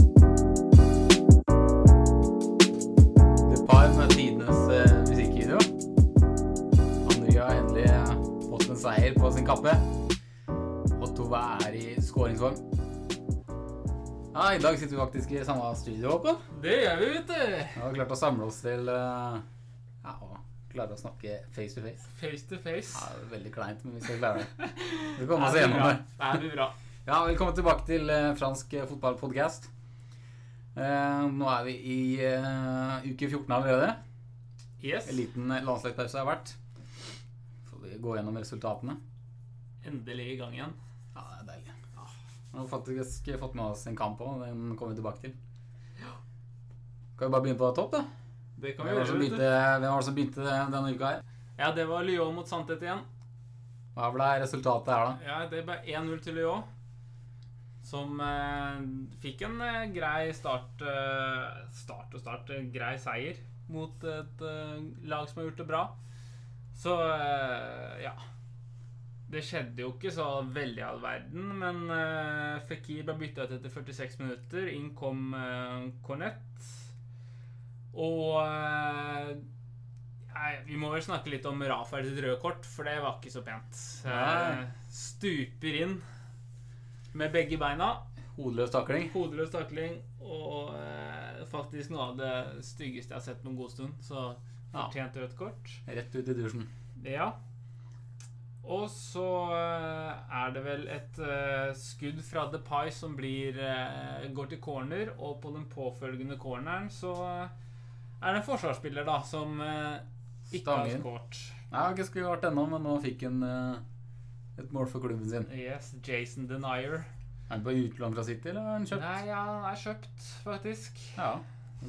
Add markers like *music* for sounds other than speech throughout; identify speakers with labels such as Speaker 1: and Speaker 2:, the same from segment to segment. Speaker 1: eh, seier på eh, sin kappe. Og Tove er i skåringsform. Ja, I dag sitter vi faktisk i samme studio, Håkon.
Speaker 2: Det gjør vi, vet du.
Speaker 1: Vi har klart å samle oss til eh, ja, å klare å snakke face to face.
Speaker 2: Face to face.
Speaker 1: Ja, det er veldig kleint, men vi skal klare det. Vi kommer oss gjennom det.
Speaker 2: Det her blir bra.
Speaker 1: Ja, velkommen tilbake til eh, fransk eh, fotballpodcast. Eh, nå er vi i eh, uke 14 allerede.
Speaker 2: Yes.
Speaker 1: En liten landslagspause har vært. Får vi gå gjennom resultatene.
Speaker 2: Endelig i gang igjen.
Speaker 1: Ja, det er deilig. Ja. Nå har vi faktisk fått med oss en kamp òg. Den kommer vi tilbake til. Skal vi bare begynne på topp, da?
Speaker 2: Det kan vi
Speaker 1: Hvem var det
Speaker 2: gjøre.
Speaker 1: som
Speaker 2: vet
Speaker 1: begynte,
Speaker 2: du.
Speaker 1: hvem var det som begynte denne uka her?
Speaker 2: Ja, det var Lyon mot Santet igjen.
Speaker 1: Hva ble resultatet her, da?
Speaker 2: Ja, det ble 1-0 til Lyon. Som eh, fikk en eh, grei start eh, Start og start, eh, grei seier mot et eh, lag som har gjort det bra. Så eh, ja. Det skjedde jo ikke så veldig all verden, men eh, Fikir ble bytta ut etter 46 minutter. Inn kom eh, Cornett. Og eh, Nei, Vi må vel snakke litt om Rafael sitt røde kort, for det var ikke så pent.
Speaker 1: Nei.
Speaker 2: Eh, Stuper inn med begge beina.
Speaker 1: Hodeløs takling.
Speaker 2: Hodeløs takling og eh, faktisk noe av det styggeste jeg har sett på en god stund. Så
Speaker 1: Ja.
Speaker 2: fortjent rødt kort.
Speaker 1: Rett ut i dusjen.
Speaker 2: Ja. Og så eh, er det vel et eh, skudd fra The Pie som blir, eh, går til corner, og på den påfølgende corneren så eh, er det en forsvarsspiller da som eh, ikke
Speaker 1: Stanger.
Speaker 2: har skåret.
Speaker 1: Nei, har ikke skåret ennå, men nå fikk han eh, et mål for klubben sin.
Speaker 2: Yes, Jason Denier.
Speaker 1: Er han på utlån fra City, eller er han kjøpt?
Speaker 2: Nei, ja, han er kjøpt, faktisk.
Speaker 1: Ja.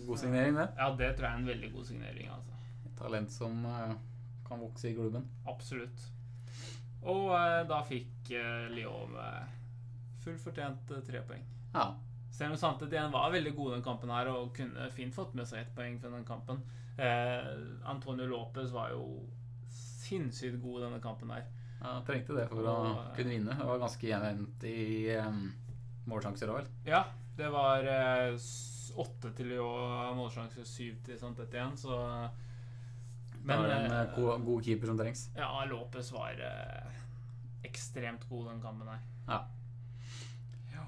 Speaker 1: God signering, det.
Speaker 2: Ja, det tror jeg er en veldig god signering, altså.
Speaker 1: Et talent som eh, kan vokse i klubben.
Speaker 2: Absolutt. Og eh, da fikk eh, Lyon eh, fullt fortjent eh, tre poeng.
Speaker 1: Ja.
Speaker 2: Selv om Santet igjen var veldig god den kampen her og kunne fint fått med seg ett poeng fra den kampen. Eh, Antonio Lopez var jo sinnssykt god denne kampen her.
Speaker 1: ja eh, trengte det for å kunne vinne. Det var ganske jevnt i eh, målsjanser òg, vel.
Speaker 2: Ja, det var eh, s- åtte til Lyon, målsjanse syv til Santet igjen, så
Speaker 1: Men det var en
Speaker 2: eh,
Speaker 1: eh, go god keeper som trengs.
Speaker 2: Ja, Lopez var eh, ekstremt god den kampen her. *laughs*
Speaker 1: Ja.
Speaker 2: Ja.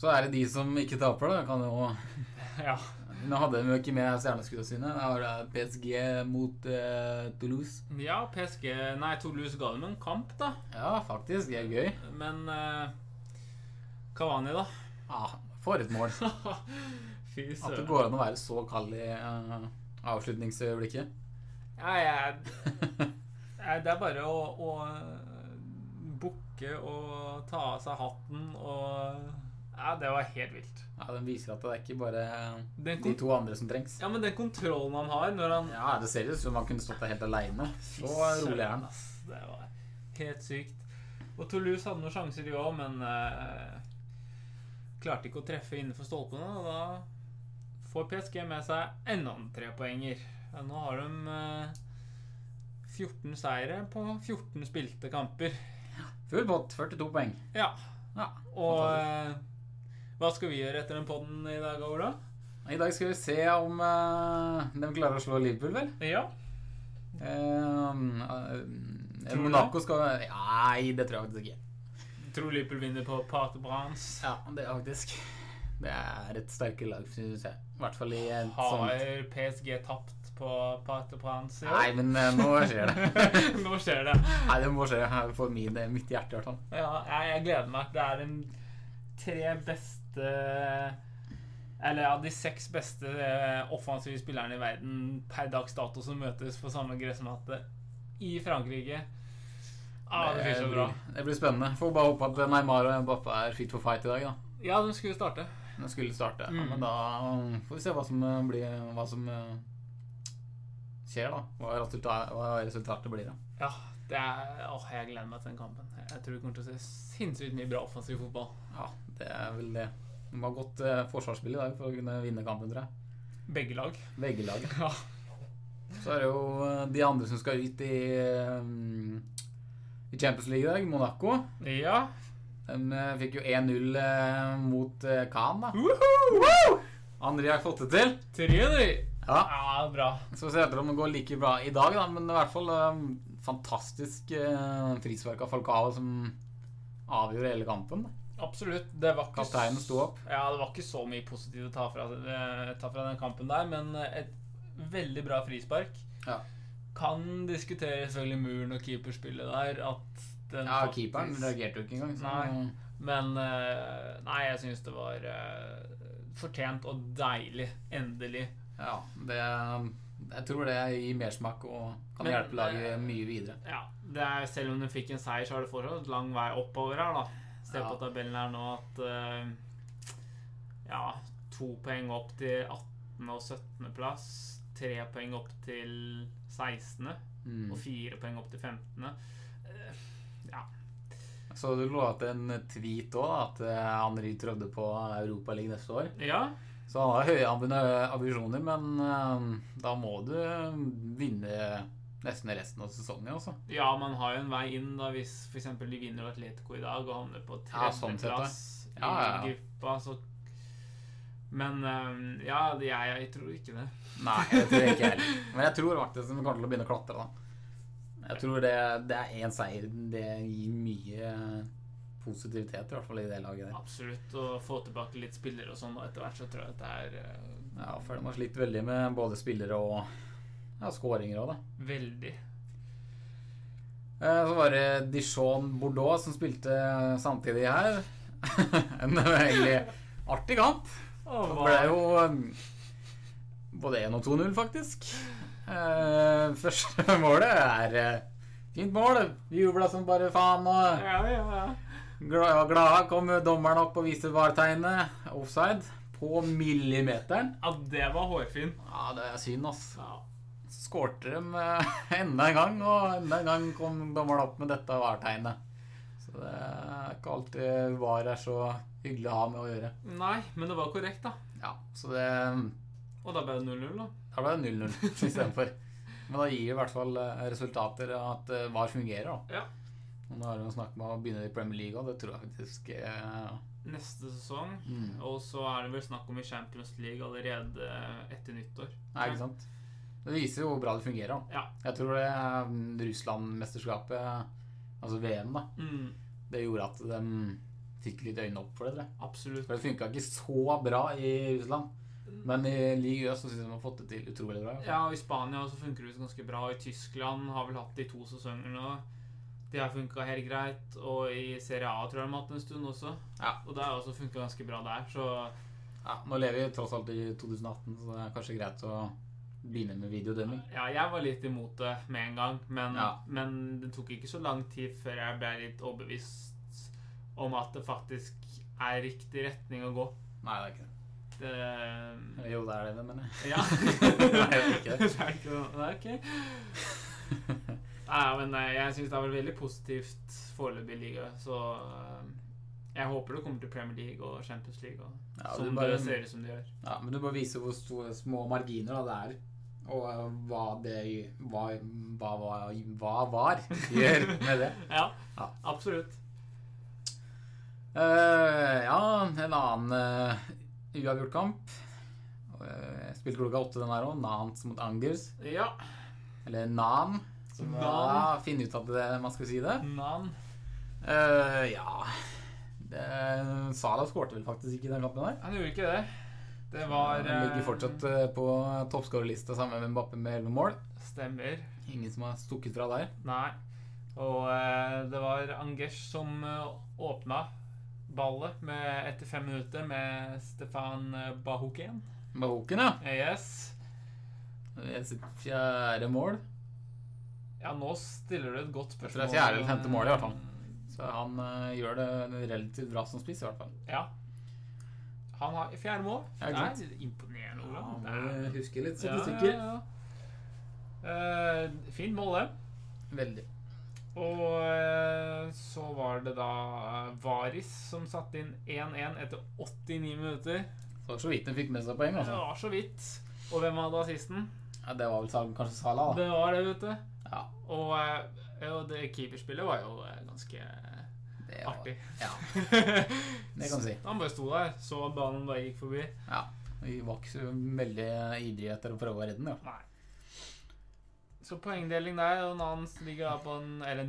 Speaker 1: Så er det de som ikke taper, da. Kan jo
Speaker 2: ja.
Speaker 1: Nå hadde de jo ikke med stjerneskuddene sine. eh, Da var det PSG mot eh, Toulouse.
Speaker 2: Ja, PSG Nei, Toulouse ga dem en kamp, da.
Speaker 1: Ja, faktisk. Det er gøy.
Speaker 2: Men eh, Cavani, da?
Speaker 1: Ja, for *laughs* et mål.
Speaker 2: Fy
Speaker 1: At det
Speaker 2: søren.
Speaker 1: går an å være så kald i eh, avslutningsøyeblikket.
Speaker 2: Ja,
Speaker 1: *laughs*
Speaker 2: jeg, jeg, det er bare å, å eh, bukke og ta av seg hatten og Ja, det var helt vilt.
Speaker 1: Ja, Den viser at det er ikke bare eh,
Speaker 2: Den
Speaker 1: de
Speaker 2: kom-
Speaker 1: to andre som trengs.
Speaker 2: Ja, men den kontrollen han har når han
Speaker 1: Ja, Det ser ut som han kunne stått der helt aleine. Så rolig er han.
Speaker 2: ass. Det var helt sykt. Og Toulouse hadde noen sjanser, de òg, men eh, klarte ikke å treffe innenfor stolpene. Og da får PSG med seg enda en trepoenger. Ja, nå har de eh, 14 seire på 14 spilte kamper.
Speaker 1: Full pott, 42 poeng.
Speaker 2: Ja,
Speaker 1: Ja.
Speaker 2: og eh, hva skal vi gjøre etter den podden i dag, Ola?
Speaker 1: I dag skal vi se om eh, de klarer å slå Liverpool, vel.
Speaker 2: Ja.
Speaker 1: Eh, eh,
Speaker 2: Tror du
Speaker 1: Monaco skal Nei, det tror jeg faktisk ikke.
Speaker 2: Tror Liverpool vinner på Pate Brans.
Speaker 1: Ja, det er faktisk Det er et sterke lag, synes jeg. I hvert fall i et sånt
Speaker 2: Har PSG tapt på Pate Brans i
Speaker 1: Nei,
Speaker 2: år?
Speaker 1: men eh, nå skjer det.
Speaker 2: *laughs* Nå skjer det.
Speaker 1: Nei, det må skje her for min, det er mitt hjerte, i hvert fall.
Speaker 2: Ja, jeg, jeg gleder meg. Det er de tre beste Eller ja, de seks beste eh, offensive spillerne i verden per dags dato som møtes på samme gressmatte i Frankrike. Ja, det blir så bra.
Speaker 1: det blir spennende. Får bare håpe at Neymar og Mbappé er fit for fight i dag, da.
Speaker 2: Ja, de skulle starte.
Speaker 1: De skulle starte. Ja,
Speaker 2: Mm.
Speaker 1: men da um, får vi se hva som eh, blir Hva som eh, skjer, da. Hva resultatet, hva resultatet blir, da.
Speaker 2: Ja, det er, åh, jeg gleder meg til den kampen. Jeg tror det kommer til å se sinnssykt mye bra offensiv fotball.
Speaker 1: Ja, det er vel det. De har godt eh, forsvarsspill i dag for å kunne vinne kampen, tror jeg.
Speaker 2: Begge lag. *laughs*
Speaker 1: Begge lag.
Speaker 2: Ja.
Speaker 1: Så er det jo eh, de andre som skal ut i, eh, i Champions League i dag, Monaco.
Speaker 2: ja.
Speaker 1: De eh, fikk jo 1-0 eh, mot eh, Khan, da.
Speaker 2: Woohoo!
Speaker 1: Andre har fått det til.
Speaker 2: Tre, du.
Speaker 1: Ja,
Speaker 2: Ja, bra.
Speaker 1: Så ser det ut til om det går like bra i dag, da. Men i hvert fall eh, fantastisk eh, frispark av Falcao som avgjorde hele kampen.
Speaker 2: Absolutt. Det var ikke
Speaker 1: Kapteinen
Speaker 2: s-
Speaker 1: sto opp.
Speaker 2: Ja, det var ikke så mye positivt å ta fra, eh, ta fra den kampen der, men eh, et veldig bra frispark.
Speaker 1: Ja.
Speaker 2: Kan diskutere selvfølgelig muren og keeperspillet der. At den
Speaker 1: Ja,
Speaker 2: faktisk-
Speaker 1: keeperen reagerte jo ikke engang. Så,
Speaker 2: Nei. Men eh, nei, jeg syns det var eh, fortjent og deilig. Endelig.
Speaker 1: ja, det Jeg tror det gir mersmak og kan
Speaker 2: Men,
Speaker 1: hjelpe laget
Speaker 2: eh,
Speaker 1: mye videre.
Speaker 2: Ja, det er, Selv om de fikk en seier, så er det fortsatt lang vei oppover her. da. Se
Speaker 1: Ja.
Speaker 2: på tabellen her nå at eh, Ja, to poeng opp til 18. og 17. plass. Tre poeng opp til 16.
Speaker 1: Mm.
Speaker 2: og fire poeng opp til 15. Eh, Ja.
Speaker 1: Så du lovte en tweet òg, at eh, Henri trodde på Europaligaen neste år.
Speaker 2: ja.
Speaker 1: Så han har høye ambi- ambisjoner, men eh, da må du vinne nesten resten av sesongen, altså.
Speaker 2: Ja, man har jo en vei inn da hvis f.eks. de vinner Atletico i dag og havner på
Speaker 1: Ja, sånn sett, da.
Speaker 2: tredjeplass
Speaker 1: Ja, ja, ja.
Speaker 2: i gruppa, så Men eh, ja, det- jeg, jeg tror ikke det.
Speaker 1: Nei, det tror jeg ikke heller.
Speaker 2: *laughs*
Speaker 1: Men jeg tror faktisk de kommer til å begynne å klatre, da. Jeg tror det, det er én seier. Det gir mye positivitet, i hvert fall i det laget der.
Speaker 2: Absolutt. Å få tilbake litt spillere og sånn og etter hvert, så tror jeg at det er eh,
Speaker 1: Ja, for de har slitt veldig med både spillere og ja, skåringer òg, da.
Speaker 2: veldig
Speaker 1: Eh, Så var det Dijon Bordeaux som spilte samtidig her. *laughs* En egentlig artig kamp. Det ble jo eh, både 1 og 2-0, faktisk. Eh, Første *laughs* målet er eh, fint mål. Vi jubla som bare faen. og
Speaker 2: Ja, ja, ja.
Speaker 1: Glada, glada kom dommeren opp og viste vartegnet. Offside. På millimeteren.
Speaker 2: ja, det var hårfin.
Speaker 1: Ja, det er synd, ass.
Speaker 2: Ja.
Speaker 1: Så Skårte dem eh, *laughs* enda en gang, og enda en gang kom dommeren opp med dette vartegnet. Så det er ikke alltid VAR er så hyggelig å ha med å gjøre.
Speaker 2: Nei, men det var korrekt, da.
Speaker 1: Ja, så det
Speaker 2: Og da ble det 0-0, da.
Speaker 1: Da ble det 0-0 istedenfor. Men da gir det i hvert fall eh, resultater av at eh, VAR fungerer, da.
Speaker 2: Ja.
Speaker 1: Og Nå har de snakket om å begynne i Premier League, og det tror jeg faktisk eh,
Speaker 2: Neste sesong.
Speaker 1: mm.
Speaker 2: Og så er det vel snakk om i Champions League allerede etter nyttår.
Speaker 1: Nei, ikke sant? Det viser jo hvor bra det fungerer. da.
Speaker 2: Ja.
Speaker 1: Jeg tror det mm, Russland-mesterskapet, altså VM, da,
Speaker 2: Mm,
Speaker 1: det gjorde at de fikk litt øynene opp for det. tror jeg.
Speaker 2: absolutt.
Speaker 1: For det funka ikke så bra i Russland, men i Ligue Øst så syns jeg de har fått det til utrolig bra.
Speaker 2: Ja, og I Spania også funker det ganske bra. Og I Tyskland har vel hatt de to sesonger nå. De har funka helt greit. Og i Serie A tror jeg de har hatt en stund også.
Speaker 1: Ja.
Speaker 2: Og det har også funka ganske bra der. Så
Speaker 1: Ja, nå lever vi tross alt i 2018, så det er kanskje greit å begynne med videodømming.
Speaker 2: ja, jeg var litt imot det med en gang. Men,
Speaker 1: Ja.
Speaker 2: men det tok ikke så lang tid før jeg ble litt overbevist om at det faktisk er riktig retning å gå.
Speaker 1: Nei, det er ikke det. *laughs*
Speaker 2: Det,
Speaker 1: Eller Jo, det er det, det, mener jeg.
Speaker 2: Ja. *laughs*
Speaker 1: Nei, jeg vet ikke.
Speaker 2: Det er ikke noe- Nei, ok. Nei, men eh, jeg syns det har vært veldig positivt foreløpig i liga, så eh, jeg håper det kommer til Premier League og Champions League, og,
Speaker 1: *laughs* Ja,
Speaker 2: som
Speaker 1: du bare-
Speaker 2: det ser ut som det gjør.
Speaker 1: Ja, men du må vise hvor store, små marginer da, det er. Og eh, hva det hva, hva, hva, hva
Speaker 2: *laughs*
Speaker 1: var gjør med det.
Speaker 2: Ja,
Speaker 1: Ja.
Speaker 2: absolutt.
Speaker 1: Eh, ja, en annen eh, uavgjort kamp. Eh, spilte klokka åtte den her òg. Nans mot Angers.
Speaker 2: Ja.
Speaker 1: Eller Nan. Som
Speaker 2: Nan.
Speaker 1: ja, finne ut at det, man skal si det.
Speaker 2: Nan.
Speaker 1: Eh, ja det, Salah skårte vel faktisk ikke i den kampen der.
Speaker 2: Han gjorde ikke det. Det var
Speaker 1: Han
Speaker 2: eh,
Speaker 1: ligger fortsatt eh, på toppskårerlista sammen med Mbappe med 11 mål.
Speaker 2: Stemmer.
Speaker 1: Ingen som har stukket fra der.
Speaker 2: Nei. Og eh, det var Angers som eh, åpna ballet med, etter fem minutter med Stefan eh, Bahuken. Eh,
Speaker 1: Mahoken, ja.
Speaker 2: Yes.
Speaker 1: Det er sitt fjerde mål.
Speaker 2: Ja, nå stiller du et godt
Speaker 1: Jeg
Speaker 2: spørsmål. Mm,
Speaker 1: tror det er fjerde eller femte mål i hvert fall. Så han eh, gjør det relativt bra som spiss, i hvert fall.
Speaker 2: Ja. Han har fjerde mål.
Speaker 1: Ja, ikke sant?
Speaker 2: det er imponerende,
Speaker 1: Ja, eh,
Speaker 2: Olav.
Speaker 1: må
Speaker 2: Det er-
Speaker 1: jo huske litt
Speaker 2: Ja,
Speaker 1: statistikker.
Speaker 2: ja, ja. Eh, fint mål, det.
Speaker 1: Veldig.
Speaker 2: Og eh, så var det da eh, Varis som satte inn 1-1 etter 89 minutter.
Speaker 1: Så så vidt han fikk med seg poeng,
Speaker 2: Det
Speaker 1: altså.
Speaker 2: var så vidt. Og hvem hadde assisten?
Speaker 1: Ja, det var vel Sal- kanskje Salah, da.
Speaker 2: Det var det, vet du.
Speaker 1: Ja,
Speaker 2: Og, eh, og det keeperspillet var jo eh, ganske
Speaker 1: det var
Speaker 2: artig.
Speaker 1: Ja, det kan du si.
Speaker 2: *laughs* Han bare sto der, så ballen bare gikk forbi.
Speaker 1: Ja. Vi var ikke så veldig ivrige etter å prøve å redde den, i hvert fall.
Speaker 2: Nei. Så poengdeling der, og Nan ligger da på en Eller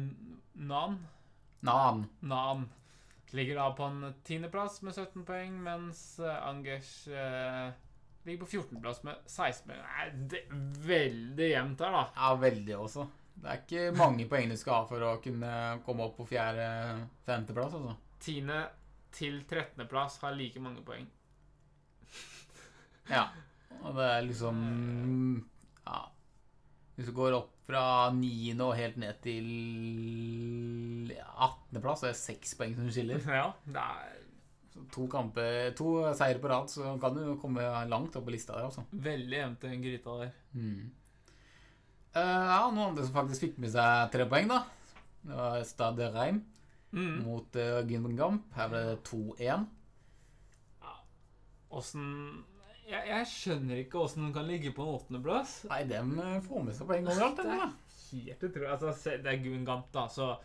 Speaker 2: Nan?
Speaker 1: Nan.
Speaker 2: Nan ligger da på en tiendeplass med 17 poeng, mens eh, Angers eh, ligger på 14.-plass med 16 poeng. Nei, det er veldig jevnt her, da.
Speaker 1: Ja, veldig også. Det er ikke mange *laughs* poeng du skal ha for å kunne komme opp på fjerde-femteplass, altså.
Speaker 2: Tiende til 13.-plass har like mange poeng.
Speaker 1: Ja. Og det er liksom Ja. Hvis du går opp fra niende og helt ned til attendeplass, så er det seks poeng som skiller.
Speaker 2: Ja, det er
Speaker 1: Så to kamper, to seire på rad, så kan du komme langt opp på lista der, altså.
Speaker 2: veldig jevnt i den gryta der.
Speaker 1: Mm. Eh, ja, noen andre som faktisk fikk med seg tre poeng, da. Det var Stade Reim
Speaker 2: Mm.
Speaker 1: mot uh, Gungamp. Her ble det 2-1.
Speaker 2: Åssen jeg, jeg skjønner ikke åssen den kan ligge på en åttendeplass.
Speaker 1: Nei, dem eh, får med seg poeng overalt,
Speaker 2: Det
Speaker 1: dem, da.
Speaker 2: er helt utrolig. Altså, se- det er Gun Gamp, da, så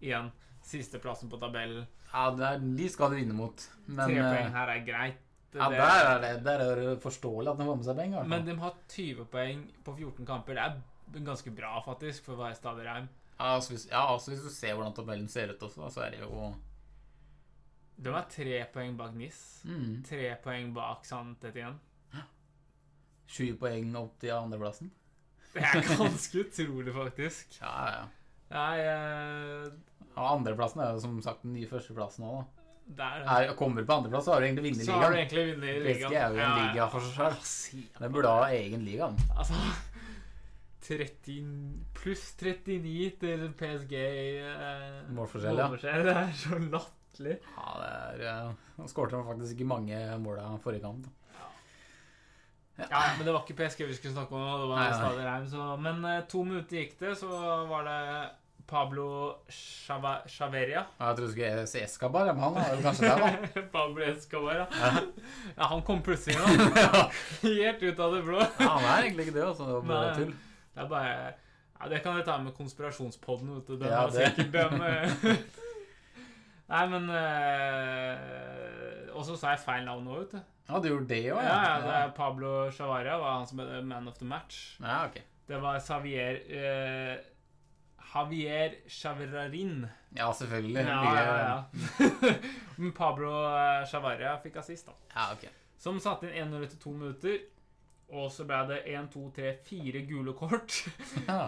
Speaker 2: igjen Sisteplassen på tabellen.
Speaker 1: Ja, det er, de skal du vinne mot. Men
Speaker 2: Tre
Speaker 1: eh,
Speaker 2: poeng her er greit.
Speaker 1: ja,
Speaker 2: Det-
Speaker 1: der er, det, der er det forståelig at de får med seg poeng. i hvert fall.
Speaker 2: Men de har 20 poeng på 14 kamper. Det er ganske bra, faktisk, for å være Staderheim.
Speaker 1: ja, altså, hvis, ja, altså hvis du ser hvordan tabellen ser ut også, da, så er det jo
Speaker 2: De er tre poeng bak NIS.
Speaker 1: mm,
Speaker 2: Tre poeng bak Santet igjen.
Speaker 1: 20 poeng opp til andreplassen.
Speaker 2: Det er *laughs* ganske utrolig, faktisk.
Speaker 1: Ja, ja, ja.
Speaker 2: Nei, eh,
Speaker 1: Og andreplassen er jo som sagt den nye førsteplassen òg, da.
Speaker 2: det er det.
Speaker 1: Er, kommer du på andreplass, så har du egentlig vunnet
Speaker 2: Så har du
Speaker 1: ligaen.
Speaker 2: egentlig vunnet
Speaker 1: PSG
Speaker 2: ligaen.
Speaker 1: er jo en
Speaker 2: Ja, Ah,
Speaker 1: liga for seg selv. Den burde ha egen liga. den.
Speaker 2: Altså 30, Pluss 39 til PSG i eh,
Speaker 1: Målforskjell, ja.
Speaker 2: målforskjell. Det er så latterlig.
Speaker 1: Ja, det er eh, Nå skårte de faktisk ikke mange mål av forrige kamp. da.
Speaker 2: Ja, men det var ikke PSG vi skulle snakke om. nå, Det var
Speaker 1: Nei, nei.
Speaker 2: Stadion Reim, så. Men eh, to minutter gikk det, så var det Pablo Chava Chaveria.
Speaker 1: Ja, Jeg trodde du skulle se Escabar, men han er jo kanskje der, da.
Speaker 2: *laughs* Pablo Escobar, ja. ja. Han kom plutselig nå. *laughs* Helt ut av det blå.
Speaker 1: *laughs* Ja, han er egentlig ikke det, altså. Det var bare
Speaker 2: Nei.
Speaker 1: tull.
Speaker 2: Det er bare ja, Det kan vi ta med konspirasjonspodden. Vet du. Den
Speaker 1: Ja,
Speaker 2: er
Speaker 1: det.
Speaker 2: sikkert den eh. *laughs* Nei, men eh, Og så sa jeg feil navn nå, vet du.
Speaker 1: Ja, du gjorde det
Speaker 2: Ja,
Speaker 1: òg,
Speaker 2: ja, det er Pablo Chavaria var han som ble man of the match.
Speaker 1: ja, ok.
Speaker 2: Det var Xavier eh, Javier Chavrarin.
Speaker 1: Ja, selvfølgelig.
Speaker 2: Ja,
Speaker 1: Mye-
Speaker 2: ja, *laughs* ja. Men Pablo eh, Chavaria fikk assist, da.
Speaker 1: ja, ok. *laughs*
Speaker 2: Som satte inn 1 etter to minutter. Og så ble det 1, 2, 3, 4 gule kort. *laughs*
Speaker 1: Ja.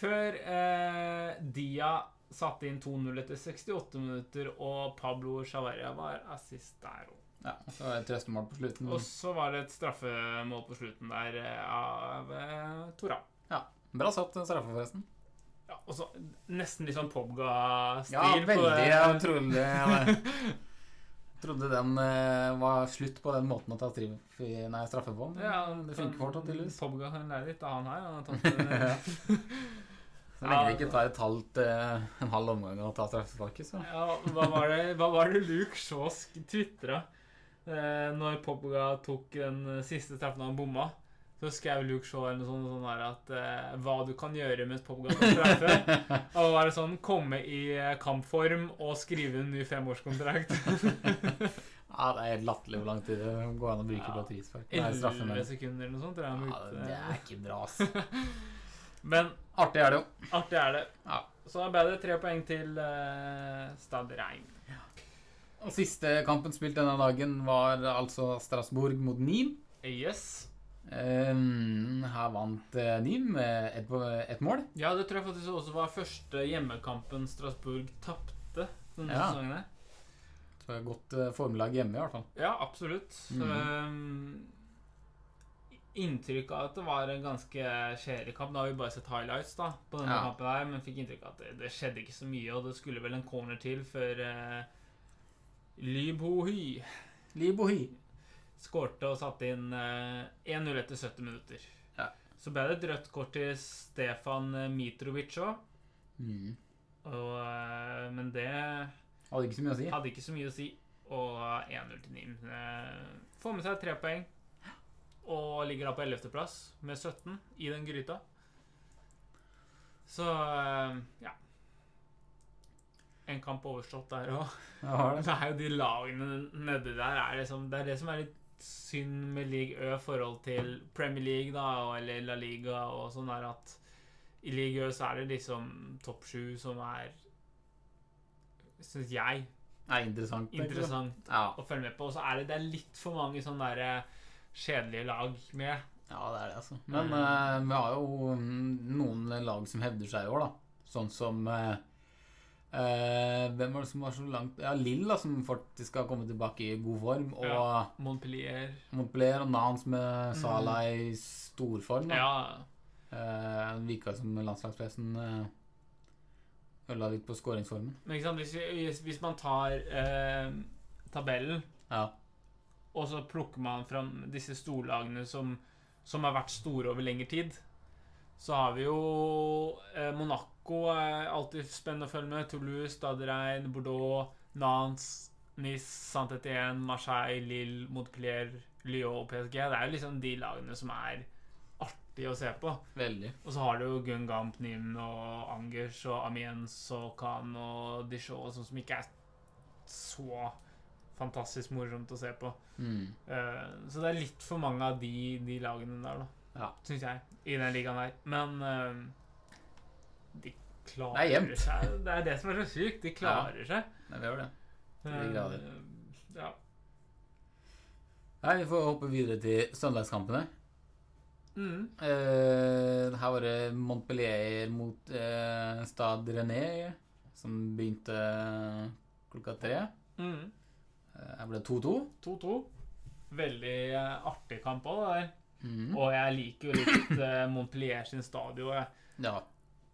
Speaker 2: Før eh, Dia satte inn 2-0 etter 68 minutter, og Pablo Chavaria var assist der òg.
Speaker 1: ja. Så var det et trøstemål på slutten.
Speaker 2: Og så var det et straffemål på slutten der eh, av eh, Tora.
Speaker 1: Bra satt den straffa, forresten.
Speaker 2: Ja, og så nesten litt sånn Pobga-stil.
Speaker 1: Ja,
Speaker 2: på
Speaker 1: veldig
Speaker 2: det.
Speaker 1: jeg trodde
Speaker 2: *laughs*
Speaker 1: Jeg trodde den eh, var slutt på den måten å ta strif, nei, straffe på. men
Speaker 2: Ja,
Speaker 1: det funker fortsatt, tydeligvis.
Speaker 2: Pobga kan lære litt av han her. Han har
Speaker 1: *laughs*
Speaker 2: tatt,
Speaker 1: Så lenge det
Speaker 2: ja.
Speaker 1: ikke tar et halvt, eh, en halv omgang å ta straffesparket, så
Speaker 2: ja, hva, var det, hva var det Luke Shaw tvitra eh, når Pobga tok den eh, siste straffen han bomma? Så skrev Luke Shaw eller noe sånt, sånn her at eh, hva du kan gjøre mens Pobga tar
Speaker 1: *laughs*
Speaker 2: straffe. Og da var det sånn komme i eh, kampform og skrive en ny femårskontrakt.
Speaker 1: Ja, det er helt latterlig hvor lang tid det går an å bruke på et frispark. *laughs* Nei, straffe,
Speaker 2: 11
Speaker 1: men-
Speaker 2: sekunder eller noe sånt. tror jeg han
Speaker 1: Ja,
Speaker 2: brukte.
Speaker 1: det er ikke bra, ass.
Speaker 2: Men
Speaker 1: Artig er det jo.
Speaker 2: Artig er det.
Speaker 1: Ja.
Speaker 2: Så da ble det tre poeng til uh, Stad Reim.
Speaker 1: Og Siste kampen spilt denne dagen var altså Strasbourg mot Nîmes.
Speaker 2: Yes.
Speaker 1: Ehm, her vant eh, Nîmes med ett et mål.
Speaker 2: Ja, det tror jeg faktisk også var første hjemmekampen Strasbourg tapte denne
Speaker 1: Ja.
Speaker 2: sesongen. her.
Speaker 1: Så det er Godt eh, formlag hjemme, i hvert fall.
Speaker 2: Ja, absolutt. Så,
Speaker 1: Mhm.
Speaker 2: eh, inntrykk av at det var en ganske kjedelig kamp. Nå har vi bare sett highlights da på denne
Speaker 1: Ja.
Speaker 2: kampen, her, men fikk inntrykk av at det, det skjedde ikke så mye, og det skulle vel en corner til før uh, Lybohy
Speaker 1: Libohy.
Speaker 2: skårte og satte inn eh, 1-0 etter 70 minutter.
Speaker 1: Ja.
Speaker 2: Så ble det et rødt kort til Stefan Mitrovic òg,
Speaker 1: Mm.
Speaker 2: og, eh, men det
Speaker 1: Hadde ikke så mye å si.
Speaker 2: hadde ikke så mye å si. Og 1-0 til Nim. Eh, får med seg tre poeng og ligger da på 11.-plass med 17 i den gryta. Så eh, ja. En kamp overstått der òg.
Speaker 1: Ja, har det.
Speaker 2: *laughs* Det er jo de lagene nedi der er liksom, Det er det som er litt synd med league Ø i forhold til Premier League da, og- eller La Liga og sånn, er at I ligaen så er det liksom topp sju som er Syns jeg
Speaker 1: Det er interessant. tenker du?
Speaker 2: interessant
Speaker 1: Ja.
Speaker 2: å følge med på. Og så er det, det er litt for mange sånne der eh, kjedelige lag med.
Speaker 1: ja, det er det, altså. Men
Speaker 2: Mm.
Speaker 1: eh, vi har jo mm, noen lag som hevder seg i år, da. Sånn som eh, eh, Hvem var det som var så langt Ja, Lill, da, som faktisk har kommet tilbake i god form. Og
Speaker 2: Ja. Montpellier
Speaker 1: Montpellier og Nans med Salah i storform. Da.
Speaker 2: Ja.
Speaker 1: Eh, det virka som landslagspressen uh, ødela litt på skåringsformen.
Speaker 2: Men ikke sant? Hvis, vi- hvis, hvis man tar eh, tabellen,
Speaker 1: Ja.
Speaker 2: og så plukker man fram disse storlagene som, som har vært store over lengre tid, så har vi jo eh, Monaco eh, alltid spennende å følge med. Toulouse, Stadrein, Bordeaux, Nantes, Nice, Saint-Étienne, Marseille, Lille, Montpellier, Lyon og PSG. Det er jo liksom de lagene som er artige å se på.
Speaker 1: Veldig.
Speaker 2: Og så har du jo Gungamp, Nim og Angers og Amiens og Khan og Dijon og sånn som ikke er så fantastisk morsomt å se på.
Speaker 1: Mm.
Speaker 2: Eh, så det er litt for mange av de, de lagene der, da.
Speaker 1: Ja.
Speaker 2: Syns jeg. I den ligaen her. Men eh, de klarer
Speaker 1: Det er jevnt.
Speaker 2: seg. Det er det som er så sykt. De klarer seg.
Speaker 1: Nei, vi gjør det. de grader.
Speaker 2: Eh, ja.
Speaker 1: Nei, Vi får hoppe videre til søndagskampene.
Speaker 2: Mm.
Speaker 1: Eh, her var det Montpellier mot eh, Stade René, som begynte eh, klokka tre.
Speaker 2: Mm.
Speaker 1: Eh, Her ble det 2-2.
Speaker 2: 2-2. Veldig eh, artig kamp òg, det der.
Speaker 1: Mhm.
Speaker 2: Og jeg liker jo litt eh, Montpellier sin stadion. Jeg,
Speaker 1: Ja.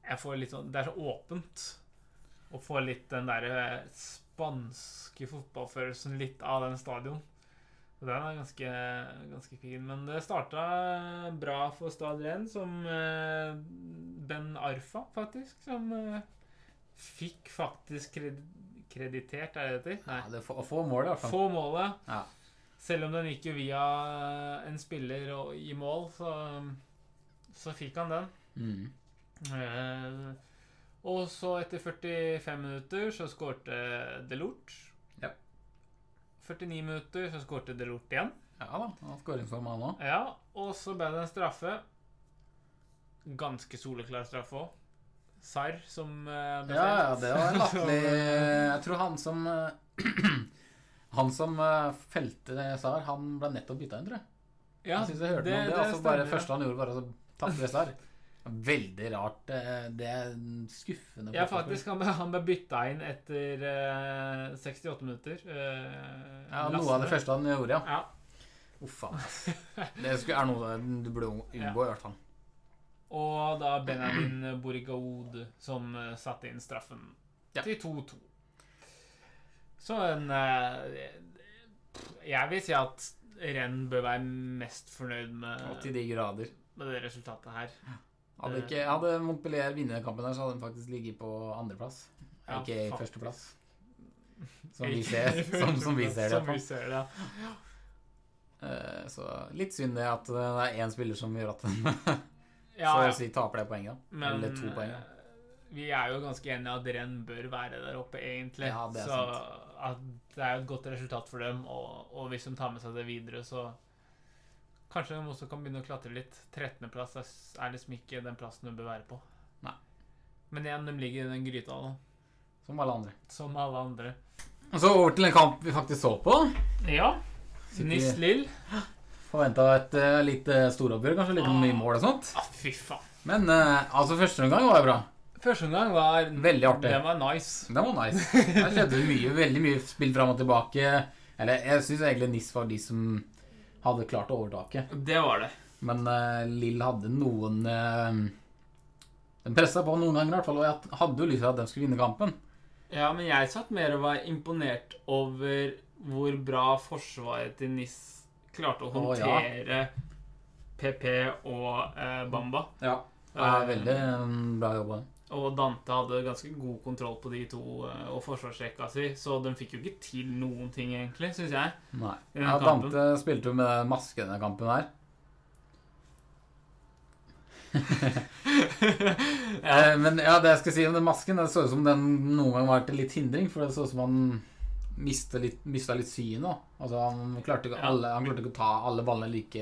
Speaker 2: jeg får litt sånn, det er så åpent. Å få litt den der eh, spanske fotballfølelsen litt av den stadion. Og den er ganske, ganske fin. Men det starta bra for Stad Renn, som eh, Ben Arfa, faktisk, som eh, fikk faktisk kred kreditert, er det det heter?
Speaker 1: ja det får, får mål, i hvert fall.
Speaker 2: Få målet.
Speaker 1: Ja.
Speaker 2: Selv om den gikk jo via eh, en spiller og i mål, så, så fikk han den.
Speaker 1: Mhm.
Speaker 2: Eh, Og så etter 45 minutter så skårte Delort.
Speaker 1: Ja.
Speaker 2: 49 minutter så skårte Delort igjen.
Speaker 1: Ja da. Han har sånn skåringsform, han òg.
Speaker 2: Ja, og så ble det en straffe. Ganske soleklar straffe òg. Sarr som eh, ble
Speaker 1: Ja, ja,
Speaker 2: felt.
Speaker 1: det var *laughs*
Speaker 2: *laughs*
Speaker 1: en latterlig
Speaker 2: Som, eh,
Speaker 1: Jeg tror han som eh, *clears throat* Han som eh, felte Sar, han ble nettopp bytta inn, tror jeg.
Speaker 2: ja,
Speaker 1: jeg synes jeg hørte noe om det. altså, bare første han gjorde, bare så tapte det Sar. Veldig rart. eh, Det er skuffende.
Speaker 2: Ja,
Speaker 1: fotballspill.
Speaker 2: faktisk. Han ble, han ble bytta inn etter eh, 68 minutter. Eh,
Speaker 1: Ja,
Speaker 2: Lasse.
Speaker 1: Noe av det første han gjorde, ja.
Speaker 2: Ja.
Speaker 1: Uff a
Speaker 2: *laughs*
Speaker 1: meg. Det skulle- er noe du burde unngå, i hvert fall.
Speaker 2: Og da Benjamin Borigaud som eh, satte inn straffen
Speaker 1: Ja.
Speaker 2: til 2-2. Så en eh, Jeg vil si at Renn bør være mest fornøyd
Speaker 1: Og
Speaker 2: med,
Speaker 1: til de grader.
Speaker 2: med det resultatet her.
Speaker 1: Hadde, ikke, hadde Montpellier vunnet den kampen, her, så hadde de faktisk ligget på andreplass.
Speaker 2: Ja,
Speaker 1: ikke
Speaker 2: faktisk.
Speaker 1: førsteplass. Som vi
Speaker 2: *laughs*
Speaker 1: ser, *laughs* som, som vi ser det. i hvert
Speaker 2: Som
Speaker 1: fall.
Speaker 2: vi ser det.
Speaker 1: Eh, Så litt synd det at eh, det er én spiller som gjør at *laughs* den
Speaker 2: Ja,
Speaker 1: så
Speaker 2: ja.
Speaker 1: å si taper det poenget. da.
Speaker 2: Men
Speaker 1: Eller to poeng. da.
Speaker 2: eh, vi er jo ganske enige at Renn bør være der oppe, egentlig.
Speaker 1: Ja, det er
Speaker 2: så at det er jo et godt resultat for dem, og, og hvis de tar med seg det videre, så Kanskje de også kan begynne å klatre litt. 13.-plass er, s- er liksom ikke den plassen de bør være på.
Speaker 1: Nei.
Speaker 2: Men igjen, de ligger i den gryta nå,
Speaker 1: Som alle andre.
Speaker 2: som alle andre.
Speaker 1: Og Så over til en kamp vi faktisk så på.
Speaker 2: Ja.
Speaker 1: Sitter-
Speaker 2: Nis Lill.
Speaker 1: Forventa et eh, litt eh, storoppgjør, kanskje litt mye mål og sånt.
Speaker 2: Ah, fy faen.
Speaker 1: Men eh, altså, første omgang var jo bra.
Speaker 2: Første omgang var
Speaker 1: Veldig artig.
Speaker 2: Den var nice.
Speaker 1: Den var nice. Der skjedde det mye, veldig mye spill fram og tilbake. Eller jeg syns egentlig NIS var de som hadde klart overtaket.
Speaker 2: Det var det.
Speaker 1: Men eh, Lill hadde noen eh, Den pressa på noen ganger, i hvert fall. Og jeg hadde jo lyst til at de skulle vinne kampen.
Speaker 2: Ja, men jeg satt mer og var imponert over hvor bra forsvaret til NIS klarte å
Speaker 1: Å, ja.
Speaker 2: håndtere PP og eh, Bamba.
Speaker 1: Ja. Det er veldig eh, bra jobba.
Speaker 2: Og Dante hadde ganske god kontroll på de to eh, og forsvarsrekka si, så de fikk jo ikke til noen ting, egentlig, syns jeg.
Speaker 1: Nei.
Speaker 2: I den
Speaker 1: Ja,
Speaker 2: kampen.
Speaker 1: Dante spilte jo med den maske i denne kampen
Speaker 2: *laughs*
Speaker 1: her. Eh, Men ja, det jeg skal si om den masken, det så ut som den noen gang var til litt hindring. For det så ut som han mista litt, mista litt synet. da. Altså, han klarte, ikke
Speaker 2: Ja.
Speaker 1: alle, han klarte ikke å ta alle ballene like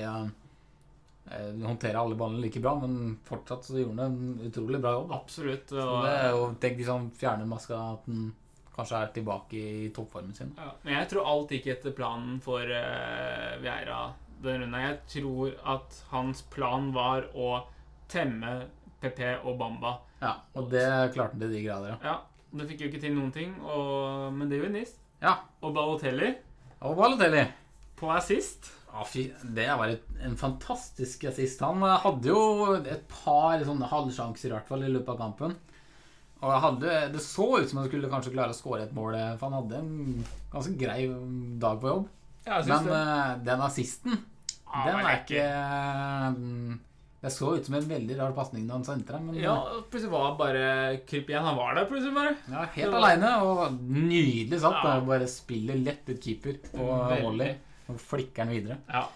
Speaker 1: eh, håndtere alle ballene like bra, men fortsatt så gjorde han en utrolig bra jobb. da.
Speaker 2: Absolutt.
Speaker 1: Så
Speaker 2: Og,
Speaker 1: det er jo, Tenk hvis han fjerner maska, at han kanskje er tilbake i toppformen sin.
Speaker 2: ja. Men jeg tror alt gikk etter planen for eh, Vieira denne runden. Jeg tror at hans plan var å temme PP og Bamba.
Speaker 1: Ja, Og det klarte han til de grader. ja.
Speaker 2: Ja, Det fikk jo ikke til noen ting, og, men det gjorde Nis.
Speaker 1: Ja.
Speaker 2: Og Balotelli
Speaker 1: Og Balotelli.
Speaker 2: på assist.
Speaker 1: Ja, fy, det var et, en fantastisk assist. Han eh, hadde jo et par sånne halvsjanser i hvert fall i løpet av kampen. Og jeg hadde, Det så ut som han skulle kanskje klare å skåre et mål, eh, for han hadde en ganske grei dag på jobb.
Speaker 2: Ja, jeg
Speaker 1: Men
Speaker 2: syns det.
Speaker 1: eh, den assisten,
Speaker 2: Ja,
Speaker 1: den
Speaker 2: var
Speaker 1: er
Speaker 2: lekker.
Speaker 1: ikke eh, Det så ut som en veldig rar pasning da han sentra, men eh,
Speaker 2: Ja, og plutselig var han bare kryp igjen. Han var der plutselig bare.
Speaker 1: Ja,
Speaker 2: Det
Speaker 1: helt
Speaker 2: var-
Speaker 1: aleine og nydelig satt.
Speaker 2: Ja.
Speaker 1: og Bare spiller lett ut keeper og
Speaker 2: Veldig.
Speaker 1: volley og flikker den videre.
Speaker 2: Ja.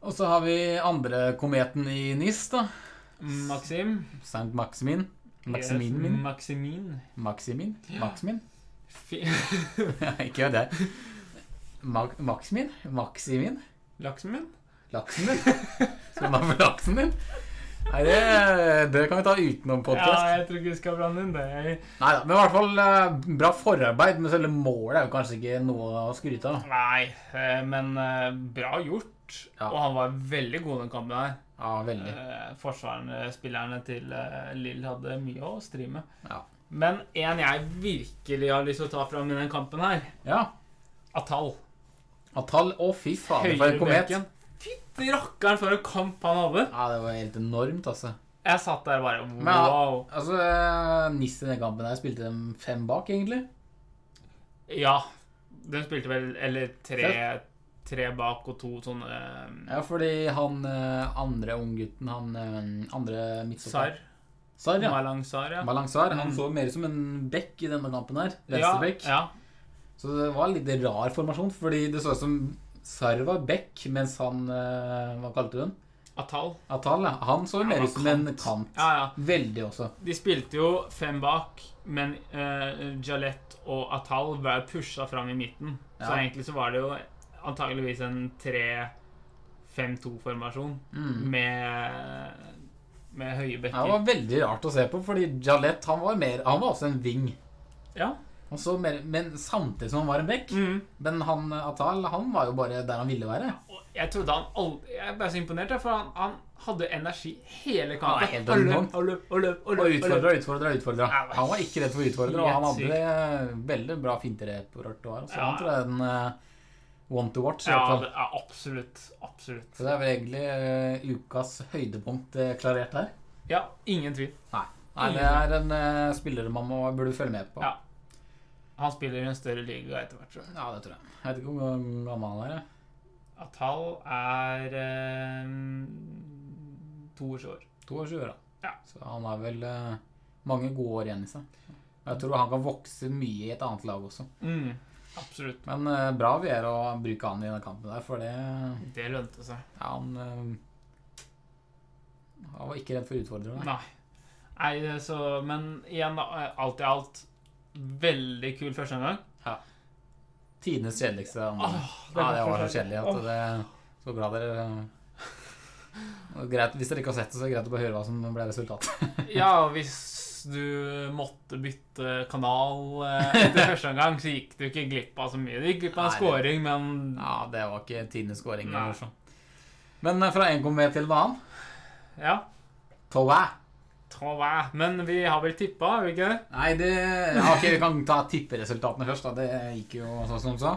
Speaker 1: Og så har vi andre kometen i NIS, da.
Speaker 2: Maxim.
Speaker 1: St. Maximin. Maximin min.
Speaker 2: Maximin.
Speaker 1: Maximin? *laughs* Maximin?
Speaker 2: Fi- *laughs*
Speaker 1: Ikke det. Mag Maximin? Maximin?
Speaker 2: Laksen min?
Speaker 1: Laksen din? *laughs* Skal du ha med laksen din? Nei, det, det kan vi ta utenom podkast.
Speaker 2: Ja, jeg tror ikke vi skal blande inn det.
Speaker 1: Nei da, men i hvert fall eh, bra forarbeid. Men selve målet er jo kanskje ikke noe å skryte av.
Speaker 2: Nei, eh, men eh, bra gjort.
Speaker 1: Ja.
Speaker 2: Og han var veldig god den kampen her.
Speaker 1: Ja, veldig.
Speaker 2: Eh, Forsvarsspillerne til eh, Lill hadde mye å stri med.
Speaker 1: Ja.
Speaker 2: Men en jeg virkelig har lyst til å ta fram i den kampen her,
Speaker 1: Ja.
Speaker 2: Atal.
Speaker 1: Atal, å fy faen, for en komet.
Speaker 2: Høyrebekken. Fytti rakkeren for en kamp han hadde!
Speaker 1: Ja, det var helt enormt, altså.
Speaker 2: Jeg satt der bare
Speaker 1: Men,
Speaker 2: wow.
Speaker 1: Altså, eh, Nis i den kampen her spilte dem fem bak, egentlig.
Speaker 2: Ja. Den spilte vel Eller tre, tre bak og to sånne eh,
Speaker 1: Ja, fordi han eh, andre unggutten, han eh, andre midtstopper
Speaker 2: Sar.
Speaker 1: Sar, ja.
Speaker 2: Malang Sar, ja.
Speaker 1: Malangsar. Han
Speaker 2: Mm.
Speaker 1: så mer ut som en bekk i denne kampen her.
Speaker 2: Ja,
Speaker 1: Venstrebekk.
Speaker 2: Ja,
Speaker 1: Så det var en litt rar formasjon, fordi det så ut som Sar var bekk, mens han eh, Hva kalte du den?
Speaker 2: Atal.
Speaker 1: Atal, ja. Han så mer
Speaker 2: var
Speaker 1: ut som en kant.
Speaker 2: Ja, ja.
Speaker 1: Veldig også.
Speaker 2: De spilte jo fem bak, men uh, Jalett og Atal ble pusha fram i midten. Så
Speaker 1: Ja.
Speaker 2: egentlig så var det jo antageligvis en 3-5-2-formasjon
Speaker 1: Mm.
Speaker 2: med, med høye
Speaker 1: Ja, Det
Speaker 2: bekker.
Speaker 1: var veldig rart å se på, fordi Jalett han var, mer, han var også en ving.
Speaker 2: Ja.
Speaker 1: Han så mer, men samtidig som han var en bekk.
Speaker 2: Mm.
Speaker 1: Men han eh, Atal han var jo bare der han ville være.
Speaker 2: Og jeg trodde han aldri Jeg ble så imponert, jeg, for han, han hadde energi hele
Speaker 1: Han er
Speaker 2: kampen.
Speaker 1: helt
Speaker 2: Og løp,
Speaker 1: enorm.
Speaker 2: og løp, og løp, og løp,
Speaker 1: Og
Speaker 2: og løp.
Speaker 1: utfordra, utfordra, utfordra.
Speaker 2: Ja, det var
Speaker 1: Han var ikke redd for å utfordre, og
Speaker 2: helt
Speaker 1: han hadde eh, veldig bra finterepertoar. Så
Speaker 2: Ja.
Speaker 1: han tror jeg er en eh, one to watch. i
Speaker 2: Ja,
Speaker 1: hvert fall.
Speaker 2: det, ja, absolutt. Absolutt.
Speaker 1: Så det er vel egentlig eh, ukas høydepunkt eh, klarert her.
Speaker 2: Ja, ingen tvil.
Speaker 1: Nei, det er en eh, spiller man må, burde følge med på.
Speaker 2: Mm. Ja. Han spiller i en større liga etter hvert, tror jeg.
Speaker 1: Ja, det tror jeg. Jeg vet ikke hvor gammel han er. jeg.
Speaker 2: Atal er eh, to års år.
Speaker 1: 22 år, da.
Speaker 2: Ja.
Speaker 1: Så han har vel eh, mange gode år igjen i seg. Jeg tror han kan vokse mye i et annet lag også.
Speaker 2: Absolutt.
Speaker 1: Men eh, bra vi er å bruke han i denne kampen der, for det ja,
Speaker 2: Det lønte seg.
Speaker 1: Han eh, Han var ikke redd for utfordrere.
Speaker 2: Nei. Nei, det- så, men igjen, da, alt i alt Veldig kul første omgang.
Speaker 1: Tidenes kjedeligste. Han,
Speaker 2: Åh,
Speaker 1: Mm. ja, det var så
Speaker 2: forferdelig.
Speaker 1: kjedelig at det Så glad dere og greit, Hvis dere ikke har sett det, så er det greit å bare høre hva som ble resultatet.
Speaker 2: Åh, Ja, og hvis du måtte bytte kanal eh,
Speaker 1: *laughs*
Speaker 2: etter første omgang, så gikk du ikke glipp av så mye. Du gikk glipp av en
Speaker 1: Nei, det-
Speaker 2: scoring, men
Speaker 1: Ja, det var ikke tidenes scoring.
Speaker 2: Nei.
Speaker 1: eller sånn. Men eh, fra en kom med til en annen.
Speaker 2: ja.
Speaker 1: Toa.
Speaker 2: Ta hva. Men vi har vel tippa, har vi ikke det?
Speaker 1: Nei, det ja, ok, Vi kan ta tipperesultatene først. da Det gikk jo sånn som du sa.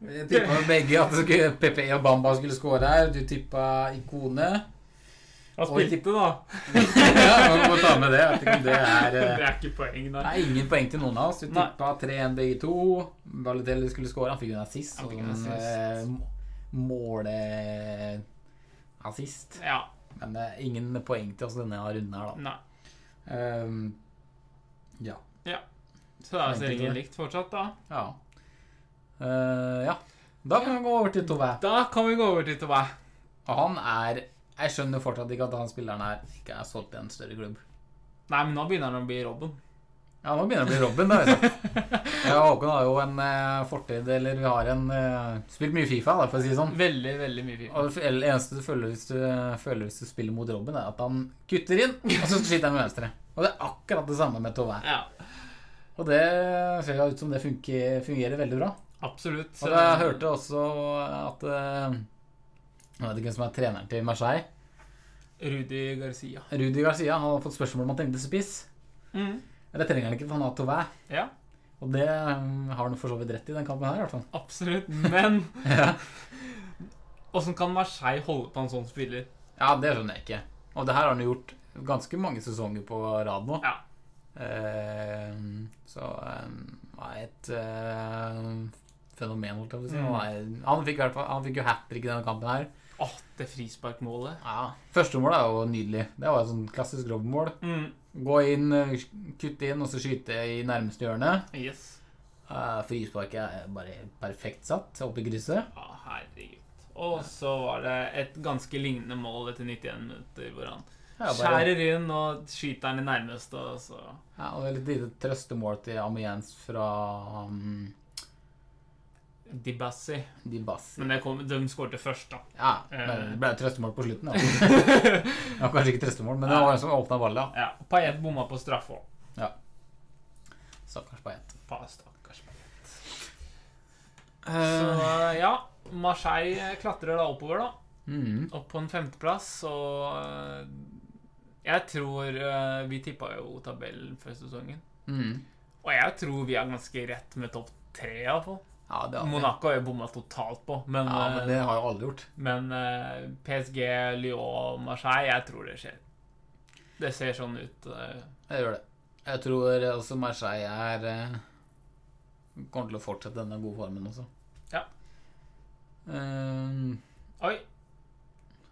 Speaker 1: Vi tippa begge at det skulle- Pepe og Bamba skulle score her. Du tippa Ikone.
Speaker 2: Hva
Speaker 1: Oi.
Speaker 2: spilte, da?
Speaker 1: ja, man må ta med det. Jeg vet ikke om det er
Speaker 2: *laughs* Det
Speaker 1: eh,
Speaker 2: er ikke poeng,
Speaker 1: Det
Speaker 2: da.
Speaker 1: er ingen poeng til noen av oss. Du
Speaker 2: Nei.
Speaker 1: tippa 3-1 begge to. Balotelli skulle score. Han fikk jo en assist.
Speaker 2: Han
Speaker 1: Og
Speaker 2: fikk en
Speaker 1: en eh, måleassist.
Speaker 2: Ja.
Speaker 1: Men det er ingen poeng til oss denne runden her, da.
Speaker 2: Nei.
Speaker 1: Ehm, ja.
Speaker 2: Så da er
Speaker 1: Enkelt,
Speaker 2: serien
Speaker 1: det.
Speaker 2: likt fortsatt, da.
Speaker 1: Ja. Eh, ja. Da kan vi gå over til Tove.
Speaker 2: Da kan vi gå over til Tobæ.
Speaker 1: Og han er Jeg skjønner fortsatt ikke at han spilleren her ikke er solgt til en større klubb.
Speaker 2: Nei, men nå begynner han å bli Robben.
Speaker 1: Ja, nå begynner det å bli Robin, da. Liksom. Jeg og Håkon har jo en eh, fortid, eller vi har en eh, Spilt mye Fifa, da, for å si det sånn.
Speaker 2: *laughs* Veldig, veldig mye FIFA.
Speaker 1: Og det eneste du føler hvis du, eh, føler hvis du spiller mot Robin, er at han kutter inn, og så skyter han med venstre. Og det er akkurat det samme med Tauvin.
Speaker 2: Ja,
Speaker 1: Og det ser jo ut som det funker, fungerer veldig bra.
Speaker 2: absolutt.
Speaker 1: Og jeg hørte også at eh, Jeg vet ikke hvem som er treneren til Marseille.
Speaker 2: Rudi Garcia.
Speaker 1: Rudi Garcia han har fått spørsmål om han trengte spiss. Eller trenger han ikke, for han har Tauvin.
Speaker 2: Ja,
Speaker 1: Og det eh, har han for så vidt rett i den kampen her, i hvert fall.
Speaker 2: absolutt. Men
Speaker 1: *laughs* Ja.
Speaker 2: åssen kan Marseille holde på en sånn spiller?
Speaker 1: Ja, det skjønner jeg ikke. Og det her har han jo gjort ganske mange sesonger på rad nå.
Speaker 2: Ja.
Speaker 1: Eh, så eh, han er et eh, fenomen, holdt jeg på å si.
Speaker 2: Mm.
Speaker 1: Han, er, han, fikk, i hvert fall- han fikk jo hat trick i denne kampen her.
Speaker 2: Åh, det frisparkmålet.
Speaker 1: Ja. Første mål er jo nydelig. Det var et sånn klassisk Robben-mål.
Speaker 2: Mm.
Speaker 1: Gå inn, eh, kutte inn, og så skyte i nærmeste hjørne.
Speaker 2: Yes.
Speaker 1: Eh, frisparket er bare perfekt satt opp i krysset.
Speaker 2: Ja, herregud. Og så var det et ganske lignende mål etter 91 minutter, hvor han
Speaker 1: Ja, bare,
Speaker 2: skjærer inn og skyter den i nærmeste, og så
Speaker 1: ja, og det er litt lite trøstemål til Amiens fra um,
Speaker 2: Dibassi.
Speaker 1: Dibassi.
Speaker 2: Men det kom, de skårte først, da.
Speaker 1: Ja, men
Speaker 2: Eh.
Speaker 1: det ble jo trøstemål på *laughs* slutten. da. Det var kanskje ikke trøstemål, men det var en som åpna ballen.
Speaker 2: Ja, Paillet bomma på straffe òg.
Speaker 1: da. Stakkars Payet.
Speaker 2: Stakkars. Så
Speaker 1: Eh.
Speaker 2: ja, Marseille eh, klatrer da oppover, da.
Speaker 1: Mhm.
Speaker 2: Opp på en femteplass, og eh, jeg tror eh, Vi tippa jo tabellen før sesongen.
Speaker 1: Mhm.
Speaker 2: Og jeg tror vi er ganske rett med topp tre, iallfall.
Speaker 1: Ja, det har vi.
Speaker 2: Monaco har jo bomma totalt på, men,
Speaker 1: Ja, men det har jo alle gjort.
Speaker 2: eh, men eh, PSG, Lyon, Marseille Jeg tror det skjer. Det ser sånn ut. eh.
Speaker 1: Jeg gjør det. Jeg tror også Marseille er eh, Kommer til å fortsette denne gode formen også.
Speaker 2: Ja.
Speaker 1: Ehm,
Speaker 2: Oi!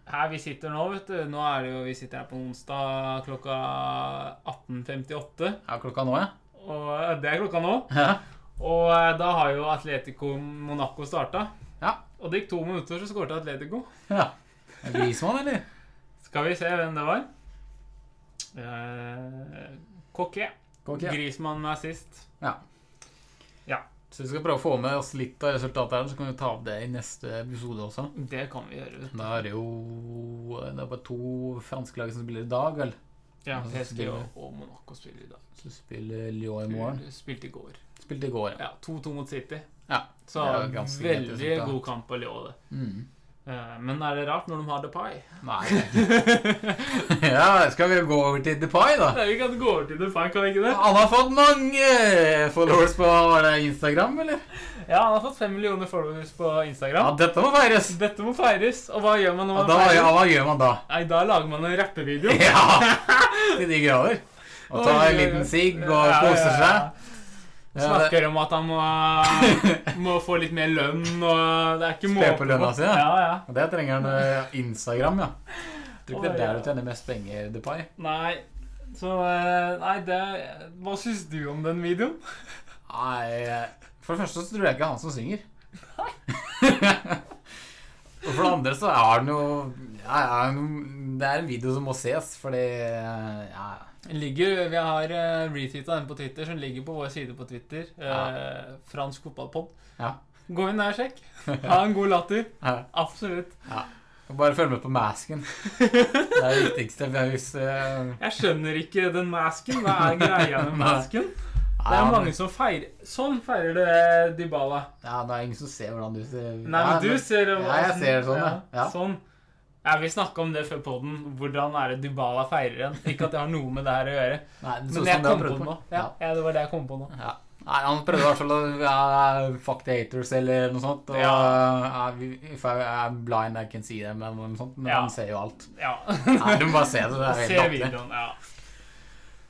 Speaker 2: Her vi sitter nå, vet du. Nå er det jo, Vi sitter her på onsdag klokka 18.58.
Speaker 1: er klokka nå, ja?
Speaker 2: Og det er klokka nå.
Speaker 1: ja?
Speaker 2: Og eh, da har jo Atletico Monaco starta.
Speaker 1: Ja.
Speaker 2: Og det gikk to minutter, så skårte Atletico.
Speaker 1: ja. Er det Griezmann, eller?
Speaker 2: Skal vi se hvem det var? Eh, Coquet.
Speaker 1: Kokke, ja.
Speaker 2: Grismann med assist.
Speaker 1: Så vi skal prøve å få med oss litt av resultatet her, så kan vi ta opp det i neste episode også.
Speaker 2: Det kan vi gjøre. vet du.
Speaker 1: Da er det jo eh, Det er bare to franske lag som spiller i dag, vel? Ja,
Speaker 2: Ja,
Speaker 1: så
Speaker 2: PSG
Speaker 1: spiller
Speaker 2: og
Speaker 1: vi.
Speaker 2: og Monaco spiller i dag.
Speaker 1: Så spiller Lyon i morgen.
Speaker 2: Spilte i går.
Speaker 1: Spilte i går, ja.
Speaker 2: Ja, 2-2 mot City.
Speaker 1: Ja,
Speaker 2: Så
Speaker 1: det er ganske greit
Speaker 2: veldig
Speaker 1: resultat.
Speaker 2: god kamp å Lyon, det.
Speaker 1: Mm.
Speaker 2: Eh, Men er det rart når de har Depay?
Speaker 1: Nei *laughs* Ja, skal vi gå over til Depay, da?
Speaker 2: Nei, Vi kan gå over til Depay, kan vi ikke det?
Speaker 1: Han har fått mange followers på var det Instagram, eller?
Speaker 2: Ja, han har fått fem millioner followers på
Speaker 1: Ja,
Speaker 2: Instagram.
Speaker 1: dette må feires!
Speaker 2: Dette må feires. Og hva gjør man når
Speaker 1: Og
Speaker 2: man
Speaker 1: da, ja,
Speaker 2: feirer?
Speaker 1: hva gjør man da? *laughs*
Speaker 2: Nei, da lager man en rappevideo.
Speaker 1: Ja! Til de grader. Og ta en
Speaker 2: Oi, oi,
Speaker 1: liten
Speaker 2: oi.
Speaker 1: sigg
Speaker 2: Ja,
Speaker 1: og
Speaker 2: ja,
Speaker 1: kose
Speaker 2: ja,
Speaker 1: seg.
Speaker 2: ja.
Speaker 1: Ja, det-
Speaker 2: Snakker om at
Speaker 1: *laughs*
Speaker 2: han må, må få litt mer lønn, og det er ikke
Speaker 1: Spe
Speaker 2: måte
Speaker 1: på lønna si, ja.
Speaker 2: Ja, ja.
Speaker 1: og det trenger han eh, Instagram, ja. Tror ikke det
Speaker 2: Oi,
Speaker 1: er der
Speaker 2: ja.
Speaker 1: du tjener mest penger, Depay.
Speaker 2: Nei, så eh, Nei, det Hva syns du om den videoen?
Speaker 1: Nei, eh, for det første så tror jeg ikke han som synger. *laughs* Og for det andre så er den jo ja, ja, Det er en video som må ses, fordi eh, ja,
Speaker 2: Den ligger, Vi har uh, retweeta den på Twitter, som ligger på vår side på Twitter. eh, Fransk fotballpod.
Speaker 1: Ja.
Speaker 2: Gå inn der og sjekk. Ha en god latter.
Speaker 1: ja.
Speaker 2: Absolutt.
Speaker 1: Bare følg med på masken. Det er det viktigste. for Hvis, eh,
Speaker 2: Jeg skjønner ikke den masken. Hva er greia
Speaker 1: *laughs*
Speaker 2: med
Speaker 1: Nei.
Speaker 2: masken? Det
Speaker 1: ja,
Speaker 2: er
Speaker 1: men-
Speaker 2: mange som feirer Sånn feirer det Dybala.
Speaker 1: Ja, det er ingen som ser hvordan du ser
Speaker 2: Nei, men du ser jo
Speaker 1: Ja, jeg ser det sånn, ja. Ja.
Speaker 2: Sånn. Ja, Vi snakka om det før podden. Hvordan er det Dybala feirer en? Ikke at det har noe med det her å gjøre.
Speaker 1: Nei, det så
Speaker 2: Men
Speaker 1: ut
Speaker 2: jeg
Speaker 1: som det har
Speaker 2: kom på
Speaker 1: prøvd
Speaker 2: det nå. Ja,
Speaker 1: Ja.
Speaker 2: ja, det var det jeg kom på nå.
Speaker 1: Ja. Nei, han prøvde i hvert fall å ja, Fuck the haters eller noe sånt. Og, ja. if I, I'm blind, I can see them, eller noe sånt. Men
Speaker 2: Ja.
Speaker 1: han ser jo alt.
Speaker 2: Ja.
Speaker 1: Nei, du må bare se det. det er helt
Speaker 2: *laughs* Se
Speaker 1: latterlig.
Speaker 2: videoen, ja.